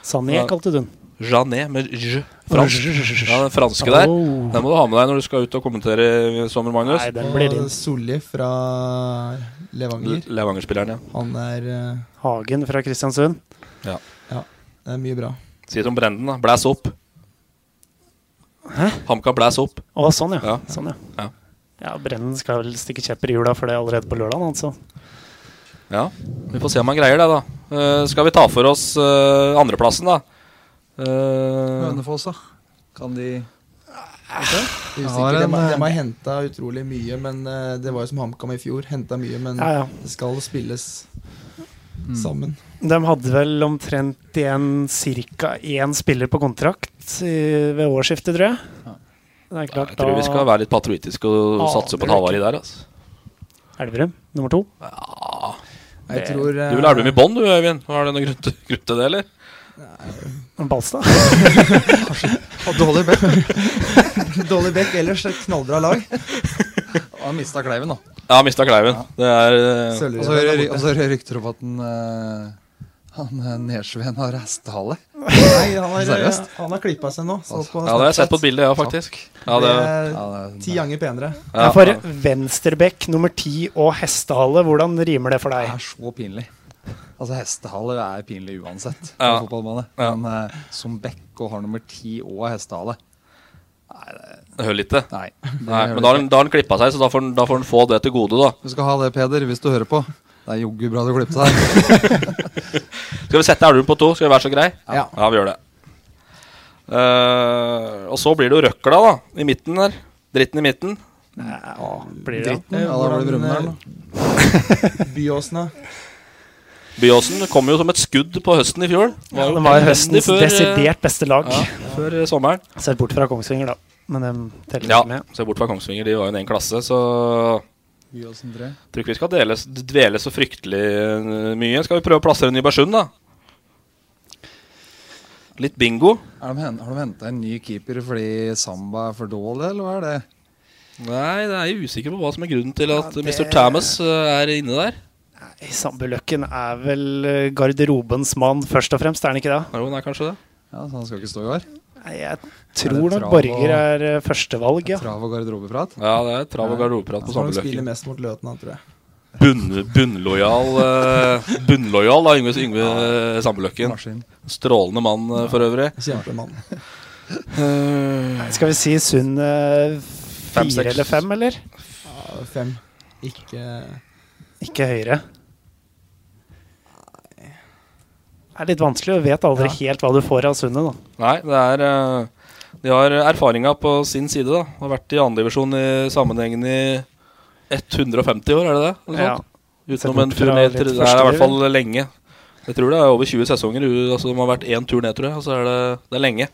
Sané kalte du den.
Janet, med j. Fransk.
J- j- j- j-
Ja, den franske der.
Oh.
Den må du ha med deg når du skal ut og kommentere sommer, Magnus.
Nei, den
Og Solli fra Levanger.
Le- Levanger-spilleren, ja.
Han er eh,
Hagen fra Kristiansund.
Ja.
Det er mye bra.
Si det om Brenden, da. Blæs opp. Hæ? HamKam blæs opp.
Å, sånn, ja. Sånn, ja.
Ja.
Ja, Brennen skal vel stikke kjepper i hjula for det allerede på lørdag, altså.
Ja, vi får se om han greier det, da. Eh, skal vi ta for oss eh, andreplassen, da? Eh,
Hønefoss, da. Kan de
Usikker. De har, eh, de har henta utrolig mye, men eh, det var jo som HamKam i fjor. Henta mye, men
Ja, ja.
det skal spilles sammen.
De hadde vel omtrent igjen ca. én spiller på kontrakt i, ved årsskiftet, tror jeg. Det er klart,
jeg tror vi skal være litt patriotiske og
Ah,
satse på et
tror
Havari
ikke.
der. Altså.
Elverum nummer to.
Jeg
Det-
tror eh,
Du vil ha Elverum i bånn, du, Øyvind. Har du noen grunn til, grunn til det, eller?
Balstad.
Og dårlig bekk. dårlig bekk ellers. Et knallbra lag.
Han mista kleiven, da.
Ja, mista Kleiven. Det er eh,
Og så hører og så hører jeg rykter om at den, eh, han eh, Nersveen har restehale.
Nei, han har,
Seriøst?
han har klippa seg nå. Så på
Ja, det har jeg sett på et bilde, ja,
Snapchat.
faktisk. Ja, det,
Altså. det er ti ganger penere.
Ja, for venstrebekk nummer ti og hestehale, hvordan rimer det for
Det
deg?
er så pinlig. Altså, hestehale er pinlig uansett. på
Ja.
fotballbane.
Ja.
Men eh, som bekk og har nummer ti og er hestehale
det hører ikke.
Nei,
Nei,
hører
men da har han- da har han klippa seg, så da får, han- da får han få det til gode, da.
Du skal ha det, Peder, hvis du hører på. Det er joggu bra du klippet deg.
Skal vi sette Elverum på to? Skal vi være så grei?
Ja.
vi gjør det. Eh, og så blir det jo røkla, da. I midten der. Dritten i midten.
Blir det,
Eh,
Ja, da blir det
hvordan,
Brumunddal, da.
eh, Byåsen, da?
Byåsen kom jo som et skudd på høsten i fjor.
ja, Den var
elendig
høstens
før, eh,
desidert beste lag.
Ja, før eh, sommeren.
Sett bort fra Kongsvinger, da. men dem teller
Ja,
ikke med.
se bort fra Kongsvinger, de var jo i en egen klasse, så
eh, Gi oss en tre.
Tror ikke vi skal deles, dvele så fryktelig eh, mye. Skal vi prøve å plassere Nybergsund, da? Litt bingo.
Er de, hen- har de henta en ny keeper fordi Samba er for dårlig, eller hva er det?
Nei, det er jeg usikker på hva som er grunnen til at
Ja, det-
Mr. Thomas eh, er inne der.
Nei, Sambuløkken er vel eh, garderobens mann, først og fremst, er han ikke det?
Jo, han er kanskje det.
Ja, så han skal ikke stå i år?
Nei, jeg tror nok Borger er eh, førstevalg, ja.
Trav og garderobeprat?
Ja, det er trav og garderobeprat på
Han skal nok
Sambuløkken.
spille mest mot Løten, han, tror jeg.
Bunn, bunnlojal eh, Bunnlojal da, Yngve, Yngve eh, Sambuløkken. Strålende mann eh, for øvrig.
Kjempemann.
Eh,
Nei, Mm. Skal vi si Sund eh,
Fem, seks.
fire eller fem, eller?
Ja, fem. Ikke
Ikke høyere. Det er litt vanskelig, og vet aldri helt hva du får av Sundet, da.
Nei, det er eh, De har erfaringa på sin side, da. Har vært i andredivisjon i sammenhengen i 150 år, er det det? Eller
Ja.
sånt?
Sett
Utenom
bort
en tur
fra
ned
litt
til Det er i
første
hvert fall lenge. Jeg tror det er over 20 sesonger. u- Altså De har vært én tur ned, tror jeg. Og så er det, det er lenge.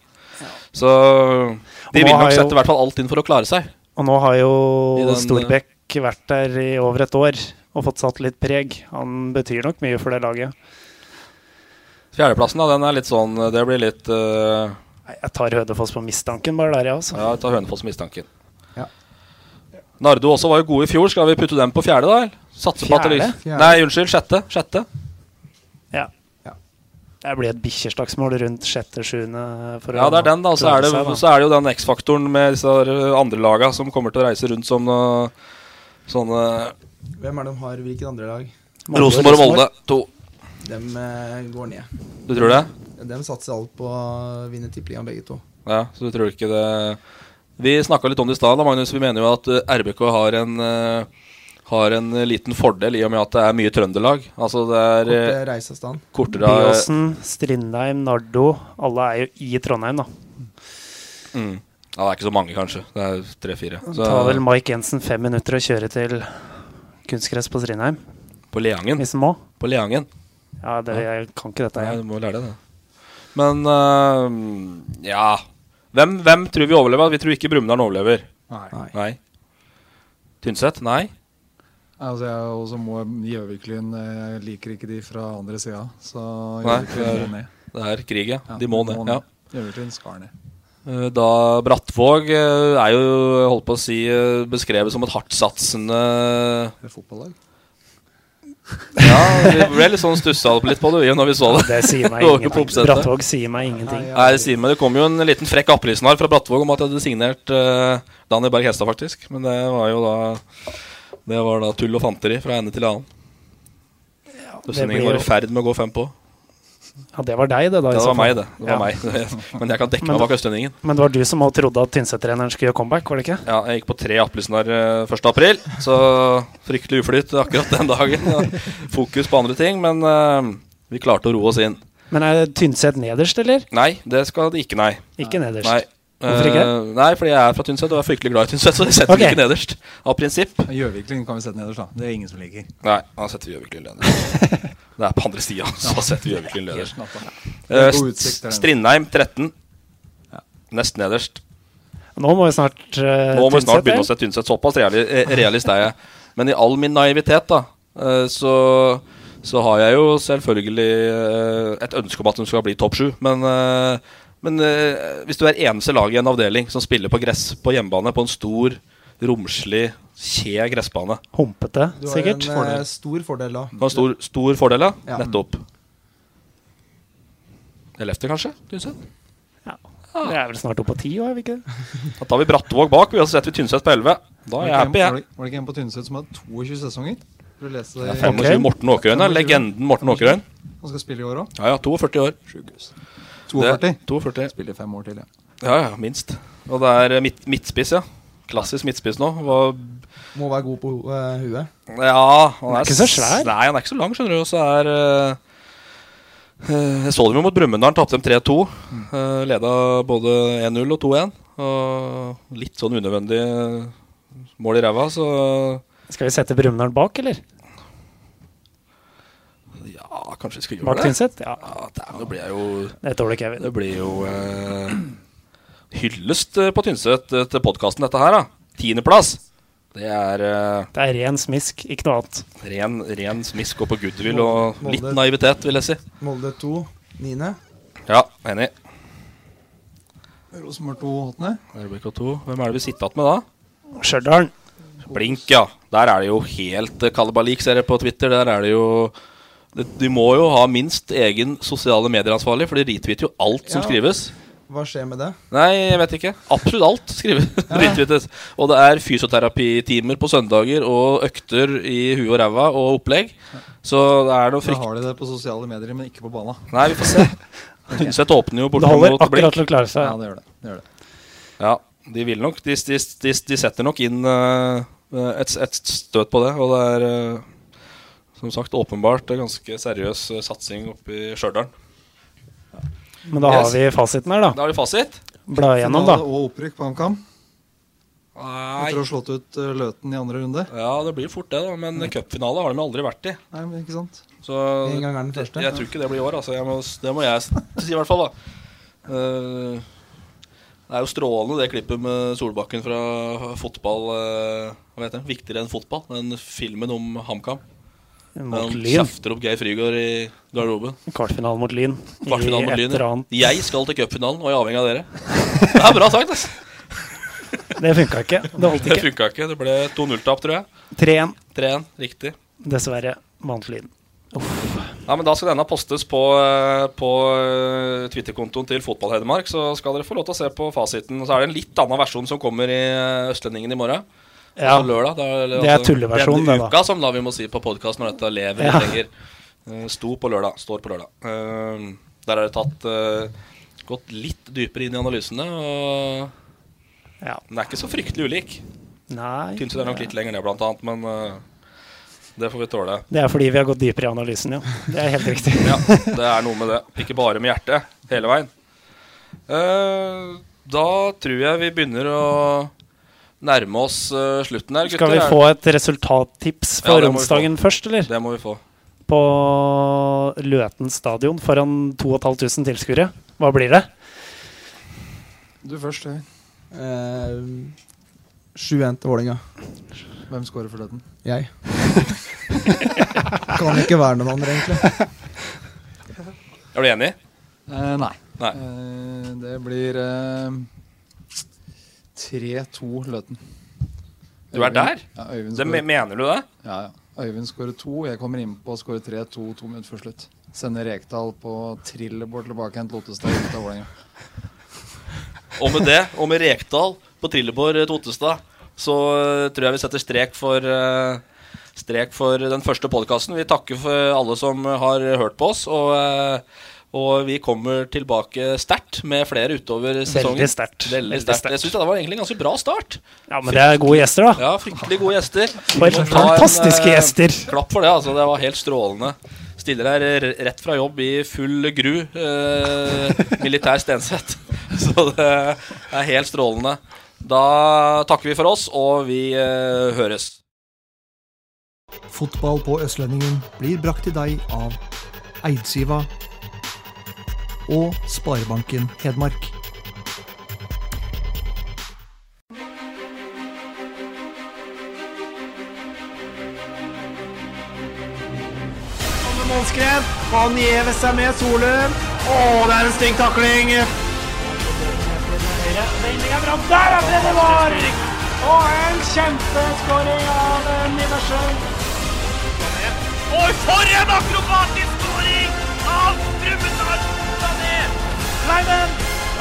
Så
Og
de
nå
vil
har
nok
jo-
sette i hvert fall alt inn for å klare seg.
Og nå har jo
I
eh,
den,
Storbekk vært der i over et år og fått satt litt preg. Han betyr nok mye for det laget.
Fjerdeplassen, da, den er litt sånn Det blir litt eh,
Nei, Jeg tar Hødefoss på mistanken bare der, jeg, altså.
Ja, ta Hønefoss mistanken. Nardo også var jo gode i fjor. Skal vi putte dem på fjerde, da? eller? Satse på at det
Fjerde?
lyser. Nei, unnskyld. Sjette. Sjette.
Ja. Det blir et bikkjeslagsmål rundt sjette-sjuende.
Ja, det er den, da. Så er det, så er det jo den X-faktoren med disse her, eh, andre laga som kommer til å reise rundt som eh, sånne
Hvem er det de har? Hvilket andre lag?
Rosenborg og Molde. To.
Dem eh, går ned.
Du tror det?
Dem satser alt på å vinne tippeligaen, begge to.
Ja, så du tror ikke det Vi snakka litt om det i stad, da, Magnus. Vi mener jo at eh, RBK har en eh, har en eh, liten fordel i og med at det er mye Trøndelag. Altså det er eh,
Kortere reiseavstand.
Kortere
Byåsen, Strindheim, Nardo. Alle er jo i Trondheim, da.
Mm. Ja, det er ikke så mange, kanskje. Det er tre-fire.
Det
Så-
tar vel Mike Jensen fem minutter å kjøre til kunstgress på Strindheim.
På Leangen.
Hvis han må.
På Leangen.
Ja, det, jeg kan ikke dette.
Nei, du må lære deg det. Men eh, ja hvem, hvem tror vi overlever? Vi tror ikke Brumunddal overlever.
Nei.
Nei. Tynset? Nei.
Altså, jeg også må Gjøviklyn Jeg liker ikke de fra andre sida, så
Nei,
Gjøviklyn
det er-
må ned.
det er krig, ja. De må ned, ja.
Gjøviklyn skal ned.
Eh, Da Brattvåg eh, er jo jeg holdt på å si, eh, beskrevet som et hardtsatsende
Det er fotballag.
Ja, vi ble litt sånn stussa litt på det vi, når vi så det.
Det sier meg
Det var ikke på
ingenting.
oppsettet.
Brattvåg sier meg ingenting.
Nei, det sier meg. Det kom jo en liten frekk appelsen her fra Brattvåg om at jeg hadde signert eh, Daniel Berg Hestad, faktisk. Men det var jo da Det var da tull og fanteri fra ende til annen. Østlendingen
blir
var
jo-
i ferd med å gå fem på.
Ja, det var deg, det. da. i
det
så
var
fall.
meg, det. det var
Ja.
meg. Men jeg kan dekke
Men
meg
da-
bak Østlendingen.
Men det var du som også trodde at Tynset-treneren skulle gjøre comeback, var det ikke?
Ja, jeg gikk på tre appelsen her 1. april, så fryktelig uflyt akkurat den dagen. Ja. Fokus på andre ting, men eh, vi klarte å roe oss inn.
Men er Tynset nederst, eller?
Nei, det skal det ikke, nei.
Ikke nederst?
Nei.
Hvorfor ikke?
Eh, nei, fordi jeg er fra Tynset og er fryktelig glad i Tynset, så jeg setter
Ok.
den ikke nederst. Av prinsipp.
Gjøviklyn kan vi sette nederst, da. Det er ingen som liker.
Nei, da setter vi Gjøviklyn nederst. Det er på andre sida, så setter vi Gjøviklyn nederst.
Helt natta.
Eh,
God utsikt der nede.
Strindheim 13. Nest nederst.
Nå må vi snart eh,
Nå må vi snart
Tynset,
begynne å se Tynset. Såpass reali eh, realist er jeg. Men i all min naivitet, da, eh, så, så har jeg jo selvfølgelig eh, et ønske om at de skal bli topp sju. Men, eh, men eh, hvis du er eneste lag i en avdeling som spiller på gress på hjemmebane på en stor, romslig, kje gressbane
Humpete,
Du har
sikkert.
en eh, stor fordel da.
Du har en stor, stor fordel, ja.
Ja.
Nettopp. Eller efter, kanskje? Tynset? Ah.
Vi er vel snart oppe på ti, er vi ikke det?
Da tar vi Brattvåg bak, vi og så setter vi Tynset på 11. Da er jeg happy,
Var
jeg.
det- var det ikke en på Tynset som hadde 22 sesonger? Tror du leste det
Det er
i-
25 Morten Åkerøyen, da.
25.
legenden Morten Åkerøyen.
Han skal spille i år òg?
Ja, ja, 42 år. Det-
42?
42.
Spiller fem år til, ja.
Ja, ja, minst. Og det er eh, midt, midtspiss, ja. Klassisk midtspiss nå. Var,
Må være god på ho- eh, huet.
ja, han
er ikke så svær.
s- Nei, han er ikke så lang, skjønner du. Og så er eh, eh, Jeg så dem jo mot Brumunddal, tapte dem 3-2. Eh, leda både 1-0 og 2-1. Og litt sånn unødvendig eh, mål i ræva, så
Skal vi sette Brumunddal bak, eller?
ja, kanskje vi skal gjøre
Bak
det.
Tynset? Ja.
Ja, dæven, det blir jeg jo
Det tåler Kevin.
Det blir jo eh, hyllest eh, på Tynset eh, til podkasten, dette her. da Tiendeplass. Det er eh,
Det er ren smisk, ikke noe annet.
Ren, ren smisk og på goodwill og litt naivitet, vil jeg si.
Molde 2, 9.
Ja, enig.
Rosenborg 2 åttende.
RBK 2. Hvem er det vi sitter igjen med da?
Stjørdal.
Blink, ja. Der er det jo helt eh, kalabalik, ser jeg på Twitter. Der er det jo det- De må jo ha minst egen sosiale medieransvarlig, for de retweeter jo alt som
Ja.
skrives.
Hva skjer med det?
Nei, jeg vet ikke. Absolutt alt skrives. retweetes. Og det er fysioterapitimer på søndager og økter i huet og ræva og opplegg. Så det er noe
Da
frykt...
har de det på sosiale medier, men ikke på banen.
Nei, vi får se. Tynset åpner jo borte
Det holder
mot Blink.
akkurat til å klare seg.
Ja, det gjør det. det, gjør det.
Ja, de vil nok. De, de, de, de setter nok inn eh, et, et støt på det. Og det er eh, som sagt åpenbart en ganske seriøs eh, satsing oppe i Stjørdal.
Men da har
Yes.
vi fasiten her, da.
Da har vi fasit.
Bla igjennom, da.
Finale Og opprykk på HamKam.
Nei.
Etter å ha slått ut eh, Løten i andre runde.
Ja, det blir fort det, da. Men cupfinale har de aldri vært i.
Nei, men ikke sant.
Så
En gang er den første,
jeg,
ja.
jeg tror ikke det blir i år. Altså. Jeg må, det må jeg s- si, i hvert fall. da Eh, Det er jo strålende, det klippet med Solbakken fra fotball eh, Hva heter det? Viktigere enn fotball. Den filmen om HamKam.
Mot
Han
Lyn.
kjefter opp Geir Frygård i garderoben.
Kvartfinalen mot Lyn. I
Kvartfinalen mot
et
Lyn.
eller
ja.
annet.
Jeg skal til cupfinalen og er avhengig av dere. Det er bra sagt, ass.
Det funka ikke. Det holdt
Det
ikke.
funka ikke. Det ble 2-0-tap, tror jeg.
3-1.
3-1, Riktig.
Dessverre vant Lyn.
Ja, men Da skal denne postes på, eh, på eh, Twitter-kontoen til Fotball-Hedmark. Så skal dere få lov til å se på fasiten. Og Så er det en litt annen versjon som kommer i eh, Østlendingen i morgen.
Ja.
Altså lørdag. da- eller
Det er
altså
tulleversjonen, det
Denne
da.
uka, som da vi må si på podkast når dette lever
Ja.
lenger. Eh, Sto på lørdag. Står på lørdag. Eh, Der er det tatt eh, gått litt dypere inn i analysene. Og den er ikke så fryktelig ulik.
Nei.
Tynset er nok litt lenger ned, blant annet, men eh, det får vi tåle.
Det er fordi vi har gått dypere i analysen, jo. Det er helt riktig.
Ja, det er noe med det. Ikke bare med hjertet, hele veien. Eh, da tror jeg vi begynner å nærme oss eh, slutten her, gutter.
Skal vi få et resultattips
Ja,
for
det må vi
onsdagen
få.
først, eller?
Det må vi få.
På Løten stadion foran 2500 tilskuere. Hva blir det?
Du først, Øyvind.
Eh, 7-1 til Vålinga.
Hvem scorer for Løten?
Jeg. kan ikke være noen andre, egentlig.
Er du enig?
Eh, nei.
Nei.
Eh, det blir eh, 3-2 Løten.
Du er der?
Ja, Øyvind
Det
scorer-
me- mener du det?
Ja, ja. Øyvind skårer to, jeg kommer innpå og skårer 3-2 to minutter før slutt. Sender Rekdal på trillebår tilbake igjen til Ottestad ut av Vålerenga.
Og med det, og med Rekdal på Trilleborg eh, Totestad, så eh, tror jeg vi setter strek for eh, Strek for den første podkasten. Vi takker for alle som har hørt på oss. Og, eh, og vi kommer tilbake sterkt med flere utover sesongen.
Veldig sterkt.
Veldig
Veldig
sterkt.
sterkt.
Jeg syns det var egentlig en ganske bra start.
Ja, men det er gode gjester, da.
Ja, fryktelig gode gjester.
For
Vi må ta en,
fantastiske
eh,
gjester.
Klapp for det, altså. Det var helt strålende. Stiller her eh, rett fra jobb i full gru. Eh, militær Stenseth. Så det er helt strålende. Da takker vi for oss, og vi eh, høres.
Fotball på Østlendingen blir brakt til deg av Eidsiva og Sparebanken Hedmark.
Kommer Målskred. Han gjever seg med Solum. Å, det er en stygg takling. Vendinga fram. Der er det var! Og en kjempeskåring av Niversen. Oi, for en akrobatisk skåring av Brumunddal Sané! Kleiven!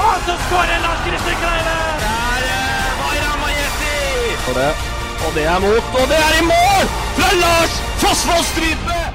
Og så skårer Lars Christer Kleiven! Der eh, var Ramajeti!
Og det, og det er mot, og det er i mål fra Lars Fossvoll Strype!